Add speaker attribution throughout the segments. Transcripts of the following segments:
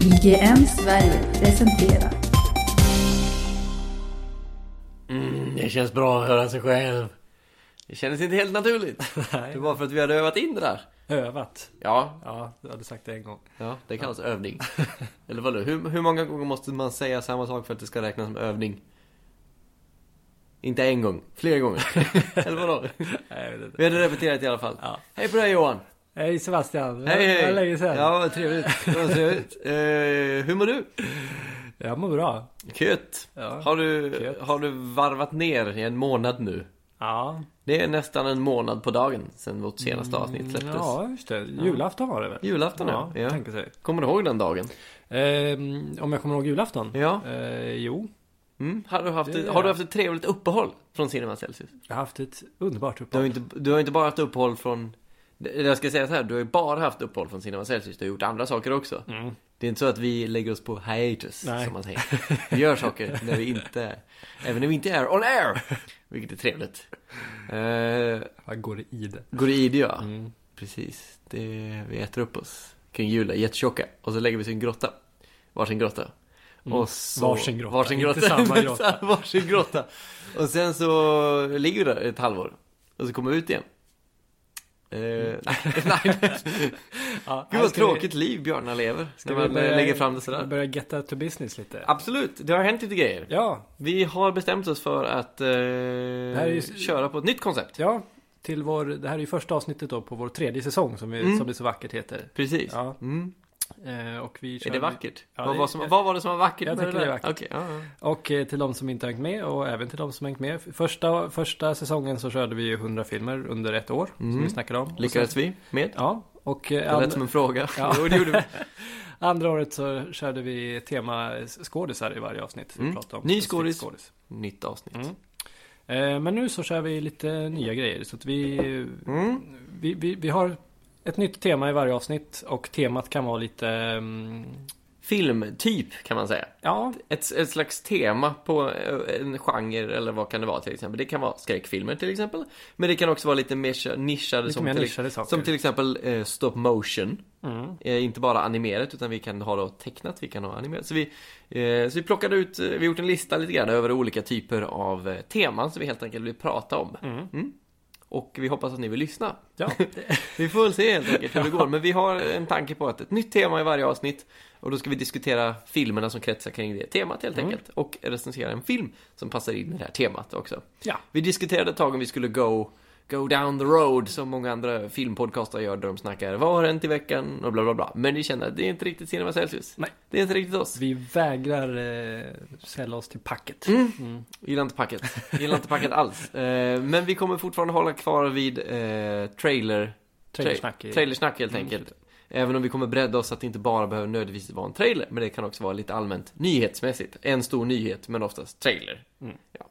Speaker 1: IGM Sverige presenterar
Speaker 2: Mm, det känns bra att höra sig själv.
Speaker 3: Det kändes inte helt naturligt. Det
Speaker 2: Nej,
Speaker 3: var för att vi hade övat in det där.
Speaker 2: övat.
Speaker 3: Ja,
Speaker 2: Ja, du hade sagt det en gång.
Speaker 3: ja det kallas övning. Eller vadå? Hur, hur många gånger måste man säga samma sak för att det ska räknas som övning? Inte en gång, flera gånger. Eller vadå?
Speaker 2: Nej, jag vet inte.
Speaker 3: Vi hade repeterat i alla fall.
Speaker 2: Ja.
Speaker 3: Hej på dig Johan!
Speaker 2: Hej Sebastian.
Speaker 3: Hej
Speaker 2: Det
Speaker 3: hej!
Speaker 2: var länge sedan.
Speaker 3: Ja, vad trevligt. Vad trevligt. Eh, hur mår du?
Speaker 2: Jag mår bra.
Speaker 3: Kött.
Speaker 2: Ja.
Speaker 3: Har du,
Speaker 2: Kött.
Speaker 3: har du varvat ner i en månad nu?
Speaker 2: Ja,
Speaker 3: Det är nästan en månad på dagen sedan vårt senaste avsnitt släpptes.
Speaker 2: ja just det. Julafton var det väl?
Speaker 3: Julafton
Speaker 2: ja.
Speaker 3: ja. ja.
Speaker 2: Tänker sig.
Speaker 3: Kommer du ihåg den dagen?
Speaker 2: Ehm, om jag kommer ihåg julafton?
Speaker 3: Ja.
Speaker 2: Eh, jo,
Speaker 3: Mm. Har, du haft
Speaker 2: Det
Speaker 3: ett,
Speaker 2: gör
Speaker 3: har du
Speaker 2: jag.
Speaker 3: haft ett trevligt uppehåll från Cinema Celsius?
Speaker 2: jag har haft ett underbart
Speaker 3: Du har,
Speaker 2: uppehåll.
Speaker 3: ju inte, du har inte bara haft uppehåll från... Jag ska säga så här, du har ju bara haft uppehåll från Cinema Celsius. Du har gjort andra saker också.
Speaker 2: Mm.
Speaker 3: Det är inte så att vi lägger oss på hiatus,
Speaker 2: Nej.
Speaker 3: som man säger. Vi gör saker när vi inte... Även när vi inte är on air! Vilket är trevligt. Eh,
Speaker 2: Vad går det i det?
Speaker 3: går det i det, ja.
Speaker 2: Mm.
Speaker 3: Precis. Det, vi äter upp oss kring jul, är jättetjocka. Och så lägger vi oss i en grotta. Varsin grotta.
Speaker 2: Mm.
Speaker 3: Och så,
Speaker 2: Varsin grotta,
Speaker 3: Varsin
Speaker 2: inte
Speaker 3: grotta.
Speaker 2: samma grotta.
Speaker 3: varsin grotta. Och sen så ligger vi där ett halvår. Och så kommer vi ut igen. Eh, nej, nej.
Speaker 2: Ja,
Speaker 3: Gud
Speaker 2: här
Speaker 3: vad
Speaker 2: Mm. ska vi-
Speaker 3: tråkigt liv bjarna lever.
Speaker 2: ska
Speaker 3: När
Speaker 2: vi
Speaker 3: man eh,
Speaker 2: börja-
Speaker 3: lägger fram det
Speaker 2: Ska vi
Speaker 3: sådär.
Speaker 2: börja getta to business lite?
Speaker 3: Absolut, det har hänt lite grejer.
Speaker 2: Ja,
Speaker 3: Vi har bestämt oss för att eh,
Speaker 2: här är ju-
Speaker 3: köra på ett nytt koncept.
Speaker 2: ja. Till vår, det här är ju första avsnittet då på vår tredje säsong som, vi,
Speaker 3: Mm.
Speaker 2: som det så vackert heter.
Speaker 3: Precis.
Speaker 2: Ja.
Speaker 3: Mm.
Speaker 2: Eh, och vi kör
Speaker 3: Är det vackert?
Speaker 2: Ja,
Speaker 3: vad,
Speaker 2: det-
Speaker 3: var som,
Speaker 2: jag-
Speaker 3: vad var det som var vackert
Speaker 2: jag
Speaker 3: med
Speaker 2: tycker
Speaker 3: där?
Speaker 2: det är vackert.
Speaker 3: Okej, ja, ja.
Speaker 2: Och eh, till de som inte har hängt med och även till de som har hängt med. Första, första säsongen så körde vi ju 100 filmer under ett år som
Speaker 3: Mm.
Speaker 2: vi snackade om. Och
Speaker 3: Lyckades
Speaker 2: sen-
Speaker 3: vi med?
Speaker 2: Ja, och
Speaker 3: Det
Speaker 2: eh,
Speaker 3: lät
Speaker 2: and,
Speaker 3: som en fråga.
Speaker 2: Ja.
Speaker 3: Jo, det gjorde vi.
Speaker 2: andra året så körde vi tema skådisar i varje avsnitt.
Speaker 3: Mm.
Speaker 2: Vi pratade om
Speaker 3: Ny
Speaker 2: specifikt
Speaker 3: skådis.
Speaker 2: skådis.
Speaker 3: Nytt avsnitt.
Speaker 2: Mm. Eh, men nu så kör vi lite nya grejer. Så att vi,
Speaker 3: Mm.
Speaker 2: vi, vi, vi har ett nytt tema i varje avsnitt och temat kan vara lite mm,
Speaker 3: Filmtyp kan man säga.
Speaker 2: Ja,
Speaker 3: Ett, ett slags tema på eh, en genre eller vad kan det vara till exempel. Det kan vara skräckfilmer till exempel. Men det kan också vara lite mer kö- nischade
Speaker 2: lite
Speaker 3: som,
Speaker 2: mer
Speaker 3: till,
Speaker 2: nischade saker.
Speaker 3: som till exempel eh, stop motion.
Speaker 2: mm.
Speaker 3: Eh, inte bara animerat utan vi kan ha då tecknat, vi kan ha animerat. Så vi, eh, så vi plockade ut, eh, vi har gjort en lista lite grann över olika typer av eh, teman som vi helt enkelt vill prata om.
Speaker 2: Mm.
Speaker 3: Och vi hoppas att ni vill lyssna.
Speaker 2: Ja,
Speaker 3: Vi får väl se helt enkelt hur det går. Men vi har en tanke på att ett nytt tema i varje avsnitt. Och då ska vi diskutera filmerna som kretsar kring det temat helt
Speaker 2: Mm.
Speaker 3: enkelt. Och recensera en film som passar in i det här temat också.
Speaker 2: ja.
Speaker 3: Vi diskuterade ett tag om vi skulle go, go down the road som många andra filmpodcastar gör där de snackar vad har hänt i veckan och bla bla bla. Men vi kände att det är inte riktigt Cinema Celsius.
Speaker 2: Nej.
Speaker 3: Det är inte riktigt oss.
Speaker 2: Vi vägrar eh, sälja oss till packet.
Speaker 3: Mm. Gillar inte packet. Gillar inte packet alls. Eh, men vi kommer fortfarande hålla kvar vid eh, trailer
Speaker 2: Trailersnack i-
Speaker 3: Trailersnack helt
Speaker 2: Mm,
Speaker 3: enkelt. Även om vi kommer bredda oss så att det inte bara behöver nödvändigtvis vara en trailer. Men det kan också vara lite allmänt nyhetsmässigt. En stor nyhet, men oftast trailer.
Speaker 2: Mm.
Speaker 3: Ja.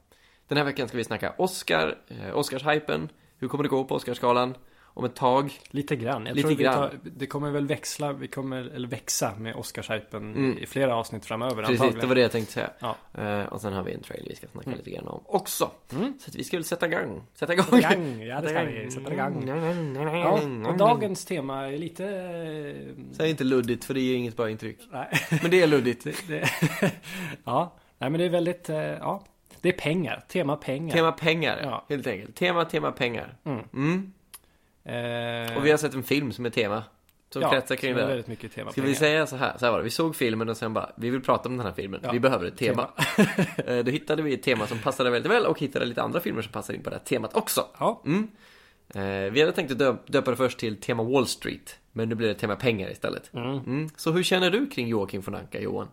Speaker 3: Den här veckan ska vi snacka Oscar, eh, Oscarshypen, hur kommer det gå på Oscarsgalan om ett tag.
Speaker 2: Lite grann. Jag
Speaker 3: Lite
Speaker 2: tror vi
Speaker 3: grann.
Speaker 2: Tar, det kommer väl växla, vi kommer, eller växa med Oscarshypen
Speaker 3: Mm.
Speaker 2: i flera avsnitt framöver
Speaker 3: Precis, det var det jag tänkte säga.
Speaker 2: Ja.
Speaker 3: Eh, och sen har vi en trailer vi ska snacka lite grann om också.
Speaker 2: Mm.
Speaker 3: Så att vi ska väl sätta igång. Sätta igång.
Speaker 2: Sätta igång, ja det ska vi. Sätta igång.
Speaker 3: Mm,
Speaker 2: Ja, och dagens tema är lite... eh,
Speaker 3: Säg inte luddigt för det ger inget bra intryck.
Speaker 2: Nej,
Speaker 3: Men det är luddigt.
Speaker 2: det, det, ja. Nej men det är väldigt, eh, ja. Det är pengar, tema pengar.
Speaker 3: Tema pengar,
Speaker 2: Ja.
Speaker 3: helt enkelt. Tema, tema pengar.
Speaker 2: Mm.
Speaker 3: Mm.
Speaker 2: Eh,
Speaker 3: Och vi har sett en film som är tema. Som
Speaker 2: ja,
Speaker 3: kretsar kring
Speaker 2: som
Speaker 3: det.
Speaker 2: är
Speaker 3: där.
Speaker 2: väldigt mycket tema
Speaker 3: Ska
Speaker 2: pengar.
Speaker 3: vi säga så här? Så här var det. Vi såg filmen och sen bara, vi vill prata om den här filmen.
Speaker 2: Ja.
Speaker 3: Vi behöver ett tema. Eh, Då hittade vi ett tema som passade väldigt väl och hittade lite andra filmer som passar in på det här temat också.
Speaker 2: Ja,
Speaker 3: Mm. Eh, Vi hade tänkt att dö- döpa det först till tema Wall Street. Men nu blir det tema pengar istället.
Speaker 2: Mm.
Speaker 3: Så hur känner du kring Joakim von Anka, Johan?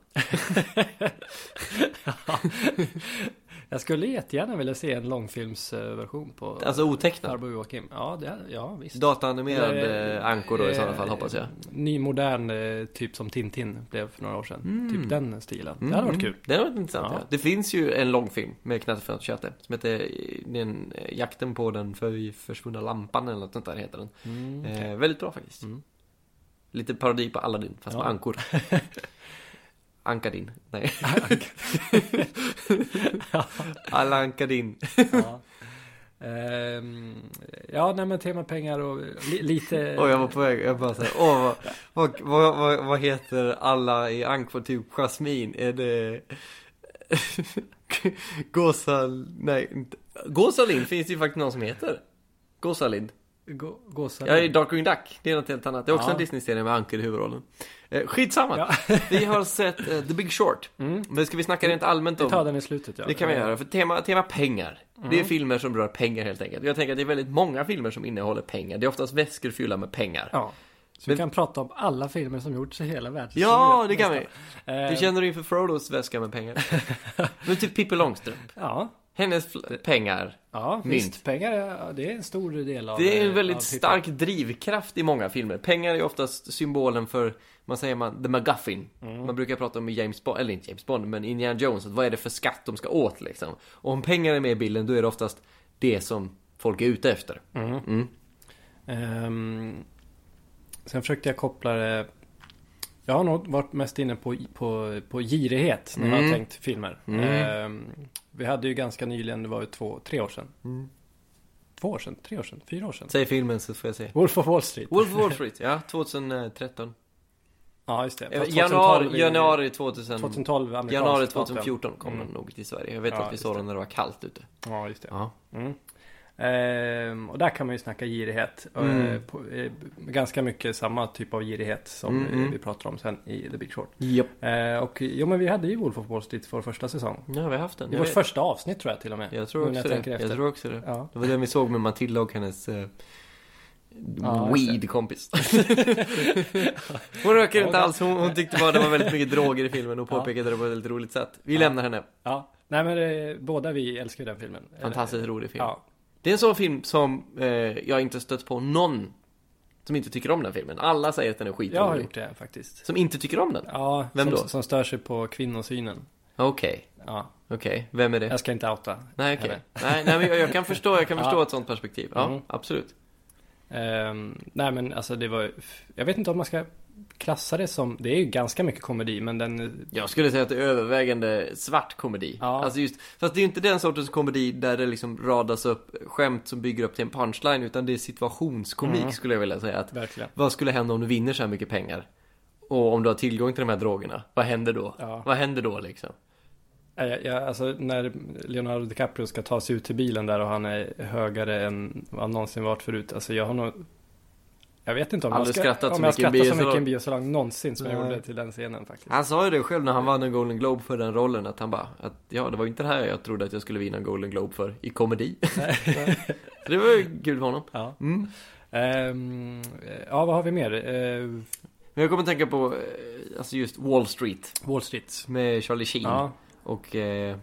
Speaker 2: jag skulle jättegärna vilja se en långfilmsversion på
Speaker 3: Alltså otecknad.
Speaker 2: Farbror Joakim. Ja, det, ja visst.
Speaker 3: Dataanimerad
Speaker 2: Eller,
Speaker 3: eh, ankor då i
Speaker 2: eh,
Speaker 3: sådana fall hoppas jag.
Speaker 2: Ny modern eh, typ som Tintin blev för några år sedan. Typ den stilen. Det hade
Speaker 3: Mm,
Speaker 2: varit
Speaker 3: mm.
Speaker 2: kul.
Speaker 3: Det hade varit intressant.
Speaker 2: Ja.
Speaker 3: Ja. Det finns ju en långfilm med Knatte Tjöte som heter eh, den, eh, Jakten på den för försvunna lampan eller något sånt där heter den. Eh, väldigt bra faktiskt.
Speaker 2: Mm.
Speaker 3: Lite parodi på Aladdin fast
Speaker 2: Ja.
Speaker 3: med ankor. Ankadin. Nej. Alla Ankadin.
Speaker 2: Ja.
Speaker 3: Mm.
Speaker 2: Ehm, ja, nej men tema pengar och li, lite...
Speaker 3: Oj jag var på väg, jag bara såhär, åh vad, vad, vad, vad, vad heter alla i Ankford, typ Jasmine, är det Gåsal, nej inte. Gåsalind finns det ju faktiskt någon som heter Gåsalind
Speaker 2: Gå, gåsar.
Speaker 3: Ja, i Darkwing Duck, det är något helt annat Det är också
Speaker 2: Ja.
Speaker 3: en Disney-serie med Anker i huvudrollen eh, Skitsamma!
Speaker 2: Ja.
Speaker 3: Vi har sett eh, The Big Short
Speaker 2: Mm.
Speaker 3: Men ska vi snacka rent allmänt om
Speaker 2: Vi tar den i slutet ja. Mm.
Speaker 3: Det kan vi göra, för tema, tema pengar. Det är filmer som rör pengar helt enkelt. Jag tänker att det är väldigt många filmer som innehåller pengar. Det är oftast väskor fyllda med pengar. Ja,
Speaker 2: Ja. Så
Speaker 3: Men-
Speaker 2: vi kan prata om alla filmer som gjorts i hela världen.
Speaker 3: det kan vi.
Speaker 2: Eh,
Speaker 3: Hur känner du inför Frodos väska med pengar? Men typ Pippi Långstrump.
Speaker 2: Ehm, Ja,
Speaker 3: Hennes fl- pengar.
Speaker 2: ja
Speaker 3: Mynt.
Speaker 2: visst. Pengar ja, det är en stor del av...
Speaker 3: Det är en
Speaker 2: eh, av
Speaker 3: väldigt
Speaker 2: hiphop.
Speaker 3: stark drivkraft i många filmer. Pengar är oftast symbolen för, man säger man, the McGuffin. Man brukar prata om i James Bond, eller inte James Bond, men Indiana Jones. Att vad är det för skatt de ska åt liksom? Och om pengar är med i bilden, då är det oftast det som folk är ute efter. Mm.
Speaker 2: Ehm, sen försökte jag koppla det... Jag har nog varit mest inne på, på, på girighet när jag
Speaker 3: Mm.
Speaker 2: har tänkt filmer. Ehm, vi hade ju ganska nyligen, det var ju två, tre år sedan. Två år sedan, tre år sedan, fyra år sedan.
Speaker 3: Säg filmen så får jag se.
Speaker 2: Wolf of Wall Street.
Speaker 3: Wolf of Wall Street, ja. 2013.
Speaker 2: Ja, just det.
Speaker 3: Eh,
Speaker 2: Fast 2012
Speaker 3: Januari,
Speaker 2: i-
Speaker 3: januari 2000,
Speaker 2: 2012 amerikanskt
Speaker 3: januari
Speaker 2: datum.
Speaker 3: 2014 kom den nog till Sverige. Jag vet
Speaker 2: Ja,
Speaker 3: att vi
Speaker 2: just
Speaker 3: såg
Speaker 2: det.
Speaker 3: den när Mm. det var kallt ute.
Speaker 2: Ja, just det.
Speaker 3: Ja.
Speaker 2: Mm. Ehm, och där kan man ju snacka girighet.
Speaker 3: Mm.
Speaker 2: Eh, på, eh, ganska mycket samma typ av girighet som
Speaker 3: Mm,
Speaker 2: eh,
Speaker 3: mm.
Speaker 2: vi pratar om sen i The Big Short.
Speaker 3: Japp.
Speaker 2: Eh, och jo, men vi hade ju Wolf of Wall Street för första säsong.
Speaker 3: Nu har vi haft den.
Speaker 2: I
Speaker 3: Jag
Speaker 2: vårt
Speaker 3: vet.
Speaker 2: första avsnitt tror jag till och med.
Speaker 3: Jag tror
Speaker 2: Nu när
Speaker 3: också
Speaker 2: tänker
Speaker 3: det.
Speaker 2: efter.
Speaker 3: Jag tror också det.
Speaker 2: Ja.
Speaker 3: Det var den vi såg med Matilda och hennes eh,
Speaker 2: Ja, just det.
Speaker 3: weed-kompis. hon röker
Speaker 2: Ja,
Speaker 3: inte
Speaker 2: det-
Speaker 3: alls. Hon, hon tyckte bara det var väldigt mycket droger i filmen och
Speaker 2: Ja.
Speaker 3: påpekade det på ett väldigt roligt sätt. Vi lämnar henne.
Speaker 2: Ja. Nej, men eh, båda vi älskar ju den filmen.
Speaker 3: Fantastiskt rolig
Speaker 2: Eh,
Speaker 3: film.
Speaker 2: Ja.
Speaker 3: Det är en sån film som eh, jag inte stött på någon som inte tycker om den filmen. Alla säger att den är
Speaker 2: Jag har
Speaker 3: skitrolig.
Speaker 2: gjort det faktiskt.
Speaker 3: Som inte tycker om den?
Speaker 2: Ja,
Speaker 3: Vem
Speaker 2: som,
Speaker 3: då?
Speaker 2: som stör sig på kvinnosynen.
Speaker 3: Okej,
Speaker 2: Ja,
Speaker 3: okej. Vem är det?
Speaker 2: jag ska inte outa.
Speaker 3: Nej, okej.
Speaker 2: henne.
Speaker 3: Nej, nej, men jag, jag kan förstå, jag kan
Speaker 2: Ja.
Speaker 3: förstå ett sånt perspektiv. Ja,
Speaker 2: Mm.
Speaker 3: absolut.
Speaker 2: Ehm, nej men alltså det var Jag vet inte om man ska klassa det som Det är ju ganska mycket komedi men den
Speaker 3: Jag skulle säga att det är övervägande svart komedi.
Speaker 2: Ja.
Speaker 3: Alltså just, fast det är ju inte den sortens komedi där det liksom radas upp skämt som bygger upp till en punchline, utan det är situationskomik
Speaker 2: Mm.
Speaker 3: skulle jag vilja säga. Att,
Speaker 2: Verkligen
Speaker 3: vad skulle hända om du vinner så här mycket pengar? Och om du har tillgång till de här drogerna, vad händer då?
Speaker 2: Ja.
Speaker 3: Vad händer då liksom?
Speaker 2: Nej, jag, jag, Alltså när Leonardo DiCaprio ska ta sig ut till bilen där och han är högre än vad han någonsin varit förut Alltså jag har nog Jag vet inte om jag,
Speaker 3: Aldrig
Speaker 2: ska,
Speaker 3: skrattat så
Speaker 2: om jag
Speaker 3: mycket i en
Speaker 2: skrattat så
Speaker 3: biosalong. Ah.
Speaker 2: mycket i en biosalong någonsin som jag
Speaker 3: Nej.
Speaker 2: gjorde till den scenen faktiskt
Speaker 3: Han sa ju det själv när han vann en Golden Globe för den rollen att han bara att ja, det var ju inte det här jag trodde att jag skulle vinna en Golden Globe för i komedi. Så det var ju kul för honom.
Speaker 2: Ja,
Speaker 3: Mm.
Speaker 2: Ehm, ja vad har vi mer? Ehm,
Speaker 3: Men jag kommer att tänka på eh, alltså just Wall Street
Speaker 2: Wall Street
Speaker 3: med Charlie Sheen
Speaker 2: Ja,
Speaker 3: och eh, eh,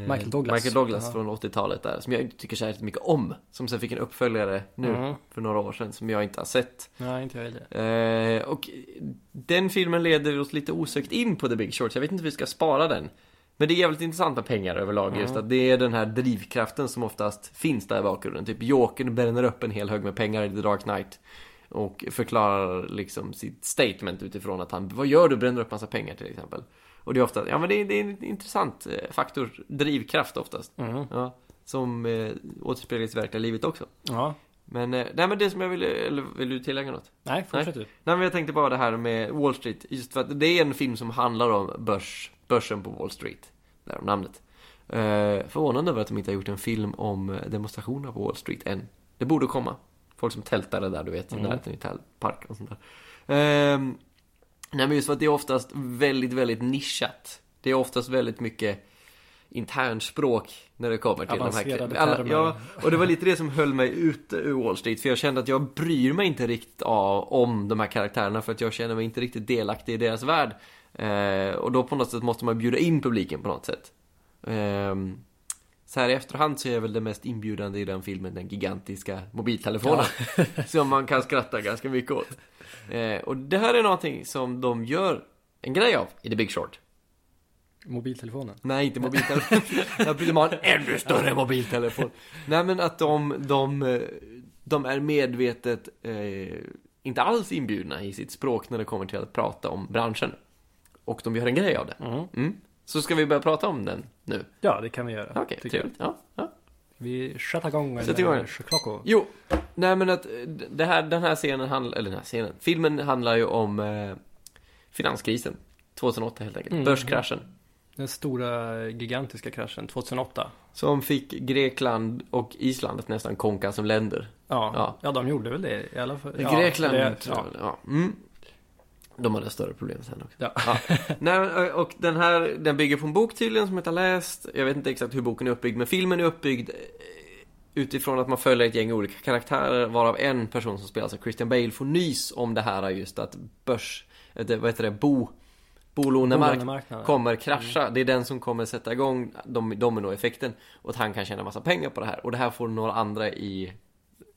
Speaker 2: Michael Douglas.
Speaker 3: Michael Douglas
Speaker 2: Ja.
Speaker 3: från 80-talet där som jag tycker särskilt mycket om. Som sen fick en uppföljare nu
Speaker 2: Mm.
Speaker 3: för några år sedan som jag inte har sett.
Speaker 2: Nej inte jag heller
Speaker 3: Eh, och den filmen leder oss lite osökt in på The Big Short, så jag vet inte hur vi ska spara den. Men det är jävligt intressant med pengar överlag, just att det är den här drivkraften som oftast finns där i bakgrunden. Typ Jokern bränner upp en hel hög med pengar i The Dark Knight. Och förklarar liksom sitt statement utifrån att han, vad gör du, bränner upp massa pengar till exempel. Och det är ofta, ja men det är, det är en intressant eh, faktor, drivkraft oftast.
Speaker 2: mm.
Speaker 3: Ja, som eh, återspeglas i verkliga livet också.
Speaker 2: Ja,
Speaker 3: Men, eh, nej men det som jag ville, eller vill du tillägga något?
Speaker 2: nej fortsätt du
Speaker 3: Nej men jag tänkte bara det här med Wall Street, just för att det är en film som handlar om börs, börsen på Wall Street. Där om namnet. Eh, förvånande över att de inte har gjort en film om eh, demonstrationer på Wall Street än. Det borde komma. Folk som tältade där, du vet, i
Speaker 2: Mm.
Speaker 3: närheten i Tall- park och sånt där. Ehm, nej men just för att det är oftast väldigt, väldigt nischat. Det är oftast väldigt mycket internspråk när det kommer till de här
Speaker 2: Avancerade
Speaker 3: alla,
Speaker 2: termer.
Speaker 3: ja, och det var lite det som höll mig ute ur Wall Street För jag kände att jag bryr mig inte riktigt av, om de här karaktärerna För att jag känner mig inte riktigt delaktig i deras värld eh, Och då på något sätt måste man bjuda in publiken på något sätt Ehm, Så här i efterhand så är väl det mest inbjudande i den filmen Den gigantiska mobiltelefonen Som man kan skratta ganska mycket åt eh, Och det här är någonting som de gör en grej av i The Big Short
Speaker 2: Mobiltelefonen
Speaker 3: Nej, inte mobiltelefon. Jag vill ha en ännu större mobiltelefon. Nej, men att de, de, eh, de är medvetet eh, inte alls inbjudna i sitt språk när det kommer till att prata om branschen. Och de gör en grej av det.
Speaker 2: Mm.
Speaker 3: Mm. Så ska vi börja prata om den nu?
Speaker 2: Ja, det kan vi göra.
Speaker 3: Okej,
Speaker 2: tycker jag.
Speaker 3: trevligt. Ja, ja.
Speaker 2: Vi sätter igång.
Speaker 3: Sätter igång.
Speaker 2: Klocko.
Speaker 3: Jo, nej men att eh, det här, den här scenen handlar, eller den här scenen, filmen handlar ju om eh, finanskrisen 2008 helt enkelt,
Speaker 2: Mm.
Speaker 3: börskraschen.
Speaker 2: Den stora gigantiska kraschen 2008.
Speaker 3: Som fick Grekland och Island att nästan konka som länder.
Speaker 2: Ja,
Speaker 3: Ja.
Speaker 2: ja. de gjorde väl det i alla fall. Ja,
Speaker 3: Grekland,
Speaker 2: det-
Speaker 3: ja. ja. Mm. De hade större problem sen också.
Speaker 2: Ja.
Speaker 3: Nej, men, och den här, den bygger på en bok tydligen som jag inte har läst. Jag vet inte exakt hur boken är uppbyggd, men filmen är uppbyggd eh, utifrån att man följer ett gäng olika karaktärer, varav en person som spelas av Christian Bale får nys om det här just att börs, eh, det- vad heter det, bo, bolånemarknaden
Speaker 2: Bolånemarknaden.
Speaker 3: kommer krascha.
Speaker 2: Mm.
Speaker 3: Det är den som kommer sätta igång dom- dominoeffekten och att han kan tjäna massa pengar på det här. Och det här får några andra i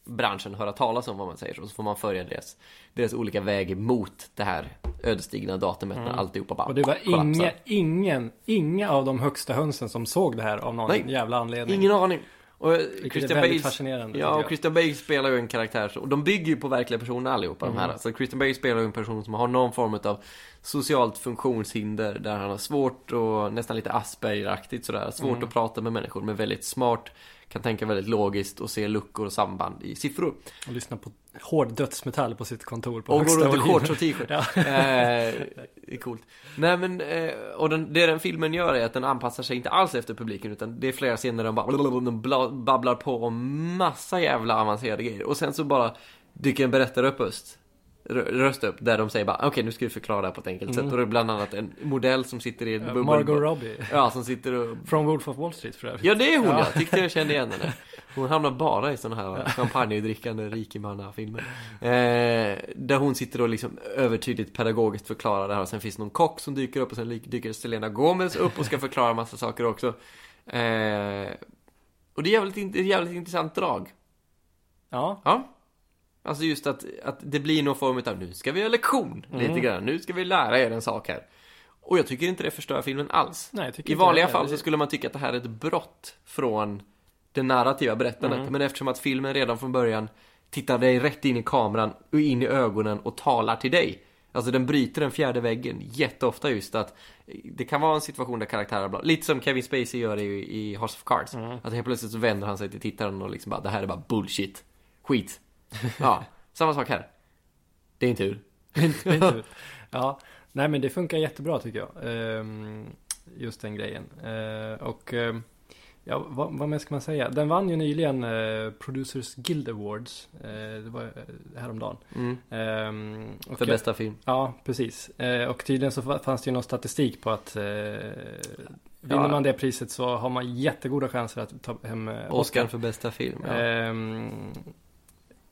Speaker 3: branschen höra talas om vad man säger och så får man följa deras, deras olika väg mot det här ödesdigra datumet när alltihopa bara
Speaker 2: Mm. Och det var
Speaker 3: kollapsar.
Speaker 2: inga, ingen, inga av de högsta hönsen som såg det här av någon
Speaker 3: Nej.
Speaker 2: jävla anledning.
Speaker 3: Ingen aning. Och eh,
Speaker 2: Vilket är
Speaker 3: Christian
Speaker 2: väldigt
Speaker 3: Bale
Speaker 2: fascinerande.
Speaker 3: Ja, och
Speaker 2: tycker jag.
Speaker 3: Christian Bale spelar ju en karaktär som, och de bygger ju på verkliga personer allihopa de
Speaker 2: Mm.
Speaker 3: här. Så Christian Bale spelar ju en person som har någon form av socialt funktionshinder där han har svårt och nästan lite Asperger-aktigt sådär. Svårt
Speaker 2: Mm.
Speaker 3: att prata med människor men väldigt smart, kan tänka väldigt logiskt och se luckor och samband i siffror.
Speaker 2: Och lyssna på hård dödsmetall på sitt kontor på
Speaker 3: Och
Speaker 2: högsta
Speaker 3: går runt i
Speaker 2: volym.
Speaker 3: shorts och t-shirt.
Speaker 2: Ja.
Speaker 3: eh, det är coolt. Nej men, eh, och den, det den filmen gör är att den anpassar sig inte alls efter publiken utan det är flera scener där de bara de bla, babblar på om massa jävla avancerade grejer. Och sen så bara dyker en berättarröst rö- röst upp där de säger bara okej nu ska vi förklara det här på ett enkelt sätt. Och det är bland annat en modell som sitter i en
Speaker 2: Eh,
Speaker 3: bubbel.
Speaker 2: Mm. Margot Robbie.
Speaker 3: Ja, som sitter och
Speaker 2: Från Wolf of Wall Street för övrigt.
Speaker 3: Ja det är hon ja, tyckte jag kände igen henne Hon hamnar bara i sådana här champagnedrickande rikemannafilmer eh, Där hon sitter och liksom övertydligt pedagogiskt förklarar det här Sen finns det någon kock som dyker upp och sen lik- dyker Selena Gomez upp och ska förklara massa saker också eh, Och det är jävligt, in- det är ett jävligt intressant drag
Speaker 2: Ja.
Speaker 3: Ja Alltså just att, att det blir någon form av nu ska vi ha lektion
Speaker 2: Mm.
Speaker 3: lite grann Nu ska vi lära er en sak här Och jag tycker inte det förstör filmen alls
Speaker 2: Nej, jag tycker
Speaker 3: i
Speaker 2: inte
Speaker 3: vanliga
Speaker 2: det.
Speaker 3: fall så skulle man tycka att det här är ett brott från det narrativa berättandet.
Speaker 2: Mm.
Speaker 3: Men eftersom att filmen redan från början tittar dig rätt in i kameran och in i ögonen och talar till dig. Alltså den bryter den fjärde väggen jätteofta just att eh, det kan vara en situation där karaktärer bla, lite som Kevin Spacey gör i, i House of Cards.
Speaker 2: Mm.
Speaker 3: Att helt plötsligt så vänder han sig till tittaren och liksom bara det här är bara bullshit. Skit. Ja, samma sak här. Det är inte tur.
Speaker 2: Det är inte- ja. Nej men det funkar jättebra tycker jag. Ehm, Just den grejen. Eh, Och ehm, ja, vad, vad mer ska man säga? Den vann ju nyligen eh, Producers Guild Awards. Eh, Det var eh, häromdagen.
Speaker 3: Mm.
Speaker 2: Ehm, och
Speaker 3: För
Speaker 2: jag-
Speaker 3: bästa film.
Speaker 2: Ja, precis. Eh, Och tydligen så fa- fanns det ju någon statistik på att eh, vinner
Speaker 3: Ja.
Speaker 2: man det priset så har man jättegoda chanser att ta hem eh,
Speaker 3: Oscar Eh, för bästa film. Ja.
Speaker 2: Ehm,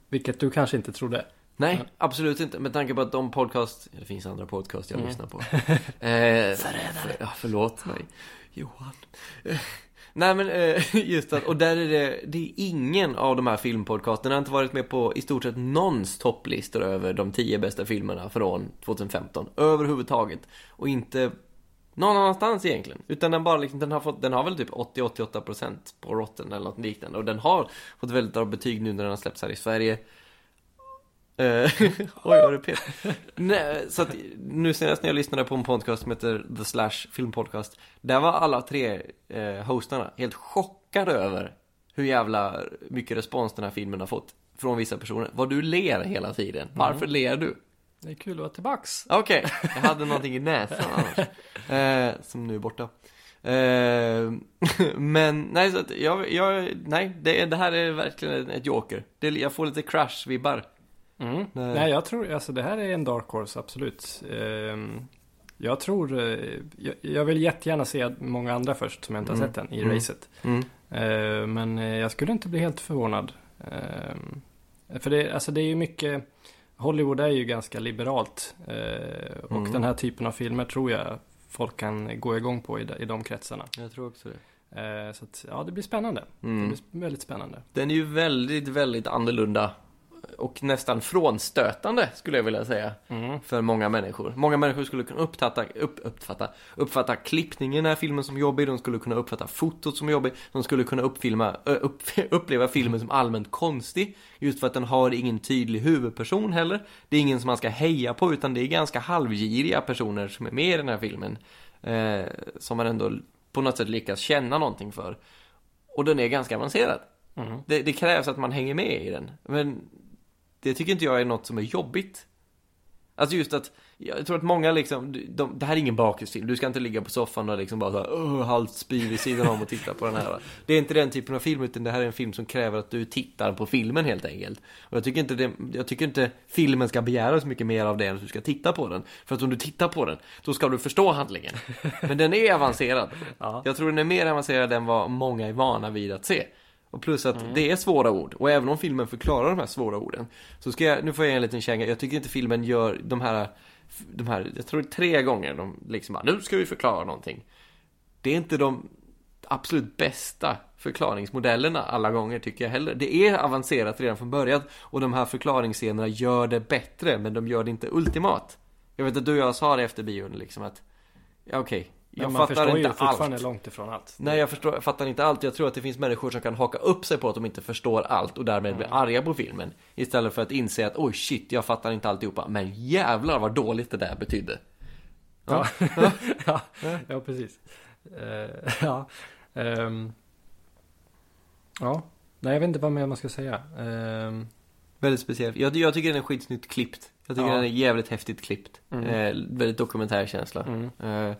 Speaker 2: vilket du kanske inte trodde.
Speaker 3: Nej,
Speaker 2: Ja.
Speaker 3: absolut inte. Med tanke på att de podcast... Det finns andra podcast jag
Speaker 2: Mm.
Speaker 3: lyssnar på. Eh, för, ja, förlåt mig. Johan. Eh, Nej men eh, just att, och där är det, det är ingen av de här filmpodcasterna har inte varit med på i stort sett någons topplistor över de tio bästa filmerna från 2015 överhuvudtaget. Och inte någon annanstans egentligen. Utan den bara liksom, den har fått, den har väl typ 80-88% på rotten eller något liknande. Och den har fått väldigt bra betyg nu när den har släppts här i Sverige. Eh, Oj, vad det pep. Nej, så att nu senast när jag lyssnade på en podcast som heter The Slash Film Podcast Där var alla tre eh, hostarna helt chockade över hur jävla mycket respons den här filmen har fått Från vissa personer. Vad du ler hela tiden. Varför ler du?
Speaker 2: Det är kul att vara tillbaks.
Speaker 3: Okej, Mm. jag hade någonting i näsan annars. Eh, som nu är borta. Eh, men nej, så att jag, jag, nej det, är- det här är verkligen ett joker. Det, är- jag får lite crash-vibbar.
Speaker 2: Mm.
Speaker 3: Nej.
Speaker 2: Nej. jag tror, alltså det här är en dark horse, absolut. Ehm, jag tror, eh, jag, jag vill jättegärna se många andra först som jag inte har
Speaker 3: Mm.
Speaker 2: sett än i
Speaker 3: Mm.
Speaker 2: racet. Eh, men eh, jag skulle inte bli helt förvånad. Ehm, för det, alltså det är ju mycket, Hollywood är ju ganska liberalt. eh, och
Speaker 3: Mm.
Speaker 2: den här typen av filmer tror jag folk kan gå igång på i de, i de kretsarna.
Speaker 3: Jag tror också det.
Speaker 2: Eh, så att, ja, det blir spännande. Det
Speaker 3: Mm.
Speaker 2: blir sp- väldigt spännande.
Speaker 3: Den är ju väldigt, väldigt annorlunda. Och nästan frånstötande skulle jag vilja säga.
Speaker 2: Mm.
Speaker 3: För många människor. Många människor skulle kunna uppfatta, upp, uppfatta, uppfatta klippningen i den här filmen som jobbig. De skulle kunna uppfatta fotot som jobbig. De skulle kunna uppfilma, ö, upp, uppleva filmen som allmänt konstig. Just för att den har ingen tydlig huvudperson heller. Det är ingen som man ska heja på utan det är ganska halvgiriga personer som är med i den här filmen. Eh, som man ändå på något sätt lyckas känna någonting för. Och den är ganska avancerad.
Speaker 2: Mhm.
Speaker 3: Det, det krävs att man hänger med i den. Men det tycker inte jag är något som är jobbigt. Alltså just att, jag tror att många liksom, de, de, det här är ingen bakisfilm, du ska inte ligga på soffan och liksom bara såhär, öh, halvt spy vid sidan om och titta på den här. va. Det är inte den typen av film, utan det här är en film som kräver att du tittar på filmen helt enkelt. Och jag tycker inte, det, jag tycker inte filmen ska begära så mycket mer av dig än att du ska titta på den. För att om du tittar på den, då ska du förstå handlingen. Men den är avancerad.
Speaker 2: Ja.
Speaker 3: Jag tror den är mer avancerad än vad många är vana vid att se. Och plus att
Speaker 2: Mm.
Speaker 3: det är svåra ord. Och även om filmen förklarar de här svåra orden. Så ska jag, nu får jag ge en liten känga. Jag tycker inte filmen gör de här, de här jag tror tre gånger de liksom bara, nu ska vi förklara någonting. Det är inte de absolut bästa förklaringsmodellerna alla gånger tycker jag heller. Det är avancerat redan från början och de här förklaringsscenerna gör det bättre men de gör det inte ultimat. Jag vet att du och jag sa det efter bion liksom att, ja okej,
Speaker 2: Men
Speaker 3: jag
Speaker 2: man
Speaker 3: fattar
Speaker 2: förstår ju
Speaker 3: inte
Speaker 2: fortfarande
Speaker 3: allt.
Speaker 2: långt ifrån allt.
Speaker 3: Nej, jag, förstår, jag fattar inte allt. Jag tror att det finns människor som kan haka upp sig på att de inte förstår allt och därmed blir arga på filmen. Istället för att inse att oj shit, jag fattar inte alltihopa. Men jävlar vad dåligt det där betydde.
Speaker 2: Ja, ja. ja precis. Eh, ja. Ehm. ja, nej jag vet inte vad mer man ska säga. Ehm.
Speaker 3: Väldigt speciellt. Jag, jag tycker den är skitsnyggt klippt. Jag tycker
Speaker 2: Ja.
Speaker 3: den är jävligt häftigt klippt.
Speaker 2: Mm.
Speaker 3: Eh, väldigt dokumentärkänsla.
Speaker 2: mm.
Speaker 3: Eh,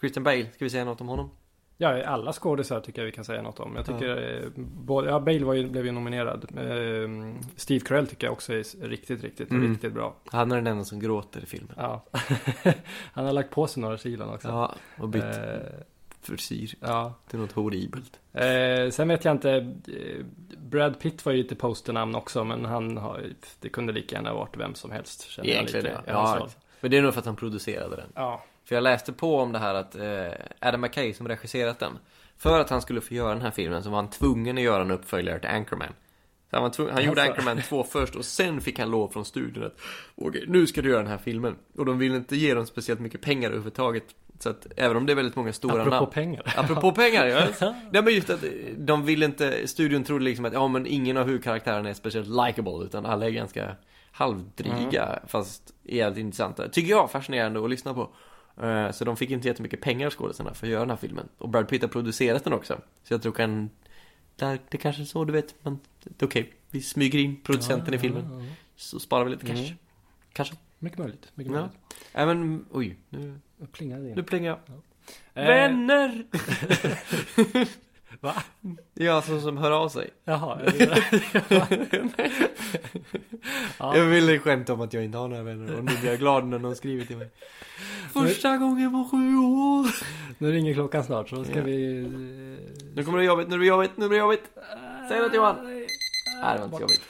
Speaker 3: Christian Bale, ska vi säga något om honom?
Speaker 2: Ja, alla skådisar tycker jag vi kan säga något om. Jag tycker, eh, både, ja, Bale var ju, blev ju nominerad. Ehm, Steve Carell tycker jag också är s- riktigt, riktigt,
Speaker 3: Mm.
Speaker 2: riktigt bra.
Speaker 3: Han är den enda som gråter i filmen.
Speaker 2: Ja. Han har lagt på sig några kilon också.
Speaker 3: Ja, och bytt
Speaker 2: Eh,
Speaker 3: frisyr
Speaker 2: ja.
Speaker 3: till något horribelt.
Speaker 2: Eh, sen vet jag inte, eh, Brad Pitt var ju lite posternamn också men han har, det kunde lika gärna varit vem som helst. känner jag
Speaker 3: Egentligen,
Speaker 2: lite,
Speaker 3: ja.
Speaker 2: i hans
Speaker 3: Ja.
Speaker 2: roll.
Speaker 3: Men det är nog för att han producerade den.
Speaker 2: ja.
Speaker 3: För jag läste på om det här att eh, Adam McKay som regisserat den För att han skulle få göra den här filmen så var han tvungen att göra en uppföljare till Anchorman så han, var tvungen, han gjorde
Speaker 2: Alltså.
Speaker 3: Anchorman 2 först och sen fick han lov från studion att Okej, nu ska du göra den här filmen Och de ville inte ge dem speciellt mycket pengar överhuvudtaget Så att även om det är väldigt många stora
Speaker 2: Apropå
Speaker 3: namn
Speaker 2: pengar.
Speaker 3: Apropå pengar, ja. Nej men just att eh, de ville inte, studion trodde liksom att ja men ingen av huvudkaraktärerna är speciellt likable utan alla är ganska halvdryga
Speaker 2: Mm.
Speaker 3: fast jävligt intressanta. Tycker jag, fascinerande att lyssna på. Eh, Så de fick inte jättemycket pengar skådisarna för att göra den här filmen. Och Brad Pitt har producerat den också. Så jag tror kan, där, det kanske är så du vet, men det är okej. Vi smyger in producenten i filmen.
Speaker 2: Ja, ja, ja.
Speaker 3: Så sparar vi lite cash.
Speaker 2: Mm.
Speaker 3: Kanske.
Speaker 2: Mycket möjligt. Mycket
Speaker 3: Ja.
Speaker 2: möjligt.
Speaker 3: Nej men, oj, nu,
Speaker 2: Nu plingade det in.
Speaker 3: nu plingar jag.
Speaker 2: Eh,
Speaker 3: Vänner!
Speaker 2: Va?
Speaker 3: Det är alltså som hör av sig.
Speaker 2: Jaha. Ja.
Speaker 3: Jag ville skämta om att jag inte har några vänner och nu blir jag glad när någon skriver till mig. Första gången på sju år.
Speaker 2: nu ringer klockan snart så ska
Speaker 3: Ja.
Speaker 2: vi... eh,
Speaker 3: Nu kommer det jobbigt, nu blir det jobbigt, nu blir det jobbigt. Säg något, Johan.
Speaker 2: Nej,
Speaker 3: Nej, det var inte så jobbigt.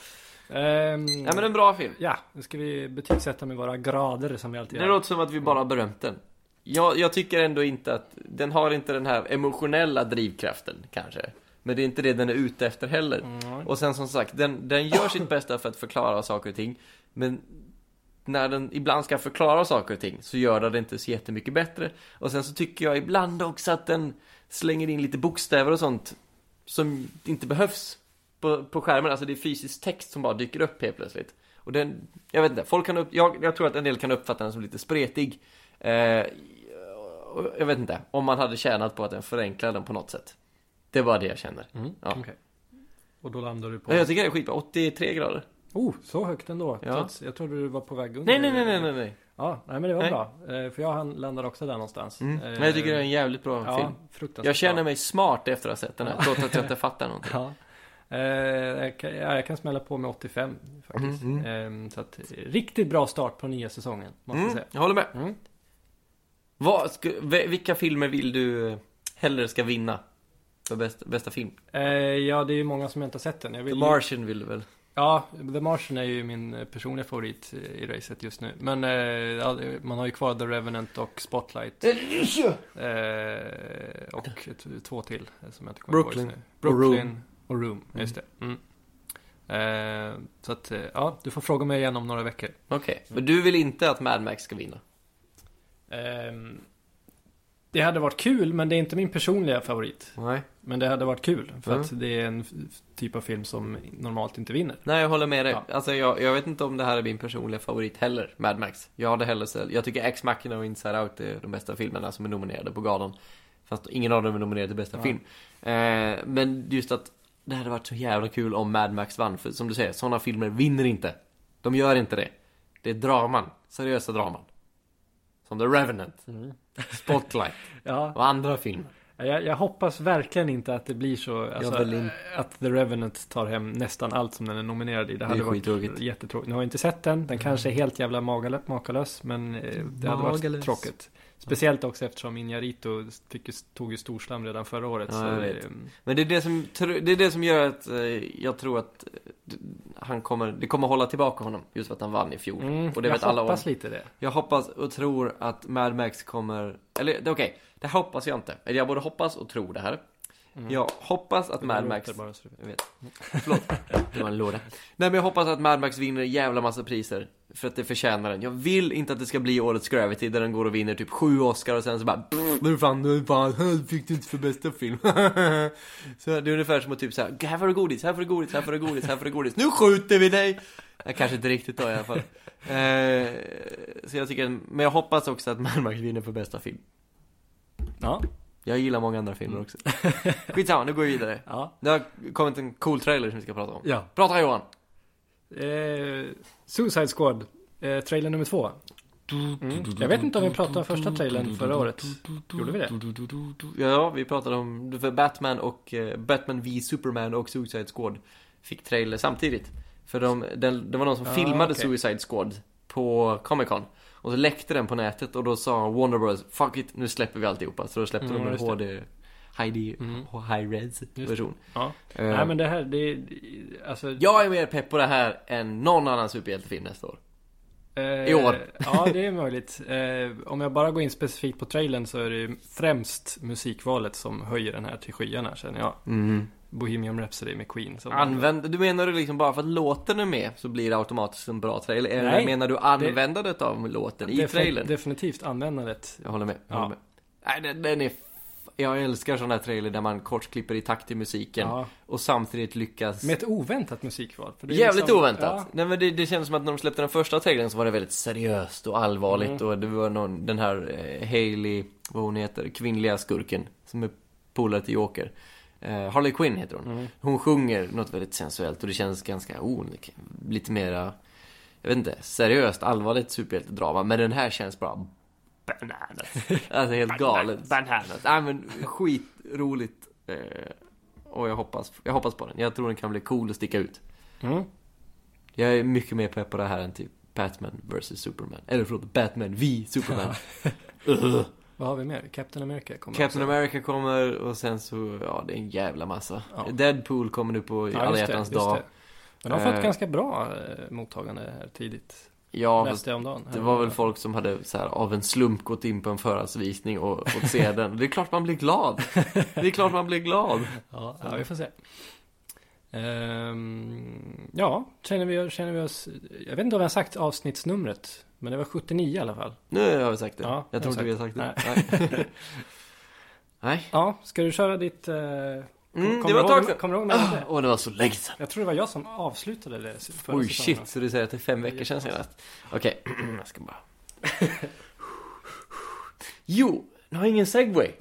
Speaker 2: Ehm,
Speaker 3: Nej men en bra film.
Speaker 2: Ja, nu ska vi betygsätta med våra grader som vi alltid
Speaker 3: Det låter som att vi bara har berömt den. Jag, jag tycker ändå inte att den har inte den här emotionella drivkraften kanske. Men det är inte det den är ute efter heller.
Speaker 2: Mm.
Speaker 3: Och sen som sagt, den, den gör sitt bästa för att förklara saker och ting. Men när den ibland ska förklara saker och ting så gör den det inte så jättemycket bättre. Och sen så tycker jag ibland också att den slänger in lite bokstäver och sånt som inte behövs på, på skärmen. Alltså det är fysisk text som bara dyker upp helt plötsligt. Och den, jag vet inte, folk kan upp, jag, jag tror att en del kan uppfatta den som lite spretig. Eh, och jag vet inte, om man hade tjänat på att den förenklar den på något sätt. Det är bara det jag känner.
Speaker 2: Mm.
Speaker 3: Ja.
Speaker 2: okej. Och då landar du på...
Speaker 3: Ja, jag tycker det är skitbra, 83 grader.
Speaker 2: Oh, så högt ändå.
Speaker 3: Ja.
Speaker 2: Trots, jag trodde du var på väg under.
Speaker 3: Nej, nej, nej, nej, nej, nej.
Speaker 2: Ja, nej men det var
Speaker 3: Nej.
Speaker 2: bra. Eh, För jag han landar också där någonstans.
Speaker 3: Mm.
Speaker 2: Eh,
Speaker 3: Men jag tycker det är en jävligt bra
Speaker 2: ja,
Speaker 3: film.
Speaker 2: fruktansvärt
Speaker 3: Jag känner
Speaker 2: bra.
Speaker 3: mig smart efter att ha sett den här, trots att jag inte fattar någonting.
Speaker 2: Ja. Eh, jag, kan, ja, jag kan smälla på med 85 faktiskt.
Speaker 3: Mm,
Speaker 2: Eh, så att, eh, riktigt bra start på nya säsongen, måste jag
Speaker 3: Mm,
Speaker 2: säga.
Speaker 3: jag håller med.
Speaker 2: Mm.
Speaker 3: Vad, ska, v- vilka filmer vill du eh, hellre ska vinna? För bästa, bästa film?
Speaker 2: Eh, ja, det är ju många som jag inte har sett den. Jag
Speaker 3: The
Speaker 2: vill ju,
Speaker 3: Martian vill du väl?
Speaker 2: ja, The Martian är ju min eh, personliga favorit eh, i racet just nu. Men eh, ja, man har ju kvar The Revenant och Spotlight. Eh, och ett, två till eh, som jag inte kommer
Speaker 3: Brooklyn.
Speaker 2: ihåg just nu.
Speaker 3: Och
Speaker 2: Brooklyn
Speaker 3: Room.
Speaker 2: och Room.
Speaker 3: Mm.
Speaker 2: Just det. Mm. Eh, så att, eh, ja, du får fråga mig igen om några veckor.
Speaker 3: Okej, men du vill inte att Mad Max ska vinna?
Speaker 2: Ehm, det hade varit kul, men det är inte min personliga favorit.
Speaker 3: Nej.
Speaker 2: Men det hade varit kul, för
Speaker 3: Mm.
Speaker 2: att det är en f- typ av film som normalt inte vinner.
Speaker 3: Nej, jag håller med dig.
Speaker 2: Ja.
Speaker 3: Alltså, jag, jag vet inte om det här är min personliga favorit heller, Mad Max. Jag hade hellre sett, jag tycker Ex Machina och Inside Out är de bästa filmerna som är nominerade på galan. För Fast ingen av dem är nominerad till bästa
Speaker 2: Nej.
Speaker 3: film. Eh, men just att det hade varit så jävla kul om Mad Max vann. För som du säger, sådana filmer vinner inte. De gör inte det. Det är draman. Seriösa draman. Som The Revenant,
Speaker 2: Mm.
Speaker 3: Spotlight
Speaker 2: Ja,
Speaker 3: och andra filmer.
Speaker 2: jag, jag hoppas verkligen inte att det blir så. Alltså,
Speaker 3: väl inte.
Speaker 2: att The Revenant tar hem nästan allt som den är nominerad i. Det hade varit
Speaker 3: skittråkigt.
Speaker 2: jättetråkigt. Nu har jag inte sett den.
Speaker 3: Mm.
Speaker 2: Den kanske är helt jävla magale- makalös. Men eh, det hade varit
Speaker 3: Magalös.
Speaker 2: tråkigt. Speciellt också eftersom Inarito tog ju storslam redan förra året.
Speaker 3: Ja,
Speaker 2: så,
Speaker 3: jag vet.
Speaker 2: eh,
Speaker 3: Men det är det som, tr- det är det som gör att eh, jag tror att eh, d- han kommer, det kommer hålla tillbaka honom. Just för att han vann i fjol.
Speaker 2: Mm,
Speaker 3: och det
Speaker 2: jag
Speaker 3: vet alla om.
Speaker 2: hoppas lite det.
Speaker 3: Jag hoppas och tror att Mad Max kommer... Eller det är okej, det här hoppas jag inte. Eller jag både hoppas och tror det här. Jag hoppas att Mad Max...
Speaker 2: Mm. Det låter bara så du vet.
Speaker 3: Jag vet. Förlåt, det var en låda. Nej men jag hoppas att Mad Max vinner en jävla massa priser. För att det förtjänar den. Jag vill inte att det ska bli årets Gravity där den går och vinner typ sju Oscar och sen så bara... "Pff, Nu fan, nu fan, här fick du inte för bästa film. så det är ungefär som att typ såhär, här får du godis, här får du godis, här får du godis, här får du godis. Nu skjuter vi dig! Jag kanske inte riktigt då i alla fall. Eh, så jag tycker, men jag hoppas också att Mad Max vinner för bästa film.
Speaker 2: Ja,
Speaker 3: Jag gillar många andra filmer också. Skitsamma, nu går vi vidare.
Speaker 2: ja.
Speaker 3: Det har kommit en cool trailer som vi ska prata om.
Speaker 2: ja.
Speaker 3: Prata Johan!
Speaker 2: Eh, Suicide Squad, eh, trailer nummer två. Mm. Jag vet inte om vi pratade om första trailern förra året. Gjorde vi det?
Speaker 3: Ja, vi pratade om för Batman och eh, Batman V Superman och Suicide Squad fick trailer samtidigt. För de, den, det var någon som
Speaker 2: Ah,
Speaker 3: filmade
Speaker 2: okej.
Speaker 3: Suicide Squad på Comic Con. Och så läckte den på nätet och då sa Warner Bros. Fuck it, nu släpper vi alltihopa. Så då släppte
Speaker 2: Mm,
Speaker 3: de en
Speaker 2: just det. Mm.
Speaker 3: HD, HD, High Res
Speaker 2: det.
Speaker 3: version.
Speaker 2: Ja.
Speaker 3: Eh,
Speaker 2: Nej men det här, det är... Alltså,
Speaker 3: Jag är mer pepp på det här än någon annan superhjältefilm nästa år.
Speaker 2: eh,
Speaker 3: i år.
Speaker 2: ja, det är möjligt. Eh, om jag bara går in specifikt på trailern så är det ju främst musikvalet som höjer den här till skyarna känner jag. Bohemian Rhapsody med Queen. Som
Speaker 3: Använd, du menar du liksom bara för att låten är med så blir det automatiskt en bra trailer? Eller
Speaker 2: Nej,
Speaker 3: menar du användandet av låten i
Speaker 2: Defin-
Speaker 3: trailern?
Speaker 2: Definitivt användandet.
Speaker 3: Jag håller med. Jag
Speaker 2: Ja.
Speaker 3: håller med. Nej, den, den är f- jag älskar sådana här trailer där man kort klipper i takt till musiken
Speaker 2: Ja,
Speaker 3: och samtidigt lyckas
Speaker 2: med ett oväntat musikval. För det är
Speaker 3: Jävligt
Speaker 2: liksom-
Speaker 3: oväntat!
Speaker 2: Ja,
Speaker 3: Nej men det, det kändes som att när de släppte den första trailern så var det väldigt seriöst och allvarligt
Speaker 2: Mm.
Speaker 3: och det var någon, den här eh, Hailey, vad hon heter, kvinnliga skurken som är polare till Joker. Eh, Harley Quinn heter hon.
Speaker 2: Mm.
Speaker 3: Hon sjunger något väldigt sensuellt och det kändes ganska, oh, lite mera, jag vet inte, seriöst, allvarligt superhjältedrama. Men den här känns bara bananas. Alltså helt galet. Bananas. Nej men skitroligt. Eh, och jag hoppas, jag hoppas på den. Jag tror den kan bli cool och sticka ut.
Speaker 2: Mm.
Speaker 3: Jag är mycket mer pepp på det här än typ Batman vs Superman. Eller förlåt, Batman V Superman. Ugh.
Speaker 2: Vad har vi mer? Captain America kommer också.
Speaker 3: Captain America kommer och sen så, ja det är en jävla massa.
Speaker 2: Ja.
Speaker 3: Deadpool kommer nu på
Speaker 2: Ja,
Speaker 3: alla
Speaker 2: just det,
Speaker 3: hjärtans
Speaker 2: just
Speaker 3: dag.
Speaker 2: det. Men de har fått
Speaker 3: Eh,
Speaker 2: ganska bra eh, mottagande här tidigt.
Speaker 3: Ja, fast
Speaker 2: Läste jag om dagen. Eh,
Speaker 3: det var väl folk som hade så här, av en slump gått in på en förhandsvisning och och fått se den. Det är klart man blir glad. Det är klart man blir glad.
Speaker 2: Ja, ja, vi får se. Ehm, ja, känner vi, känner vi oss... Jag vet inte om vi har sagt avsnittsnumret. Men det var 79 i alla fall.
Speaker 3: Nu har vi sagt det.
Speaker 2: Ja,
Speaker 3: jag tror inte vi har sagt det. Nej. Nej.
Speaker 2: Ja, ska du köra ditt... Eh, kom-
Speaker 3: Mm, det
Speaker 2: kommer du
Speaker 3: var ett tag
Speaker 2: ihåg-
Speaker 3: sedan. Ah.
Speaker 2: Kommer du ihåg när det?
Speaker 3: Åh, det var så länge sedan.
Speaker 2: Jag tror det var jag som avslutade det förra
Speaker 3: Oj
Speaker 2: säsongen.
Speaker 3: shit, så du säger att det är fem veckor sedan senast? Okej, jag ska bara... Jo, nu har jag ingen segway.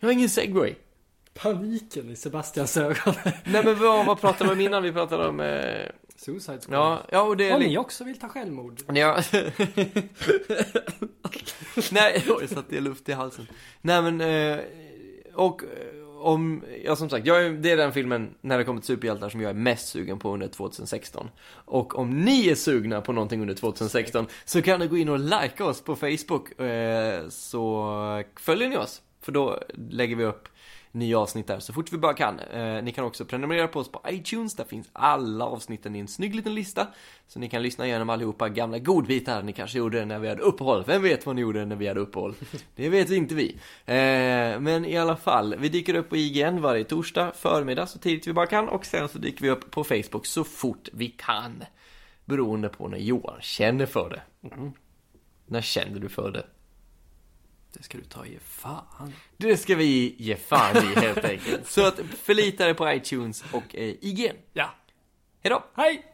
Speaker 3: Jag har ingen segway.
Speaker 2: Paniken i Sebastians ögon.
Speaker 3: Nej men vad, vad pratade vi om innan? Vi pratade om... Eh,
Speaker 2: Suicide Squad.
Speaker 3: ja, ja och det är...
Speaker 2: Om
Speaker 3: li-
Speaker 2: ni också vill ta självmord.
Speaker 3: Ja. Nej, oj, satt det luft i halsen. Nej men, eh, och eh, om, ja som sagt, jag är, det är den filmen när det kommer till superhjältar som jag är mest sugen på under 2016. Och om ni är sugna på någonting under 2016 så kan ni gå in och likea oss på Facebook eh, så följer ni oss. För då lägger vi upp nya avsnitt där så fort vi bara kan. Eh, ni kan också prenumerera på oss på iTunes, där finns alla avsnitten i en snygg liten lista. Så ni kan lyssna igenom allihopa gamla godbitar ni kanske gjorde när vi hade uppehåll. Vem vet vad ni gjorde när vi hade uppehåll? Det vet inte vi. Eh, men i alla fall, vi dyker upp på IGN varje torsdag förmiddag så tidigt vi bara kan och sen så dyker vi upp på Facebook så fort vi kan. Beroende på när Johan känner för det.
Speaker 2: Mm.
Speaker 3: När känner du för det?
Speaker 2: Det ska du ta ge fan.
Speaker 3: Det ska vi ge fan i helt enkelt. Så att förlita er på iTunes och eh, IGN.
Speaker 2: Ja.
Speaker 3: Hejdå!
Speaker 2: Hej!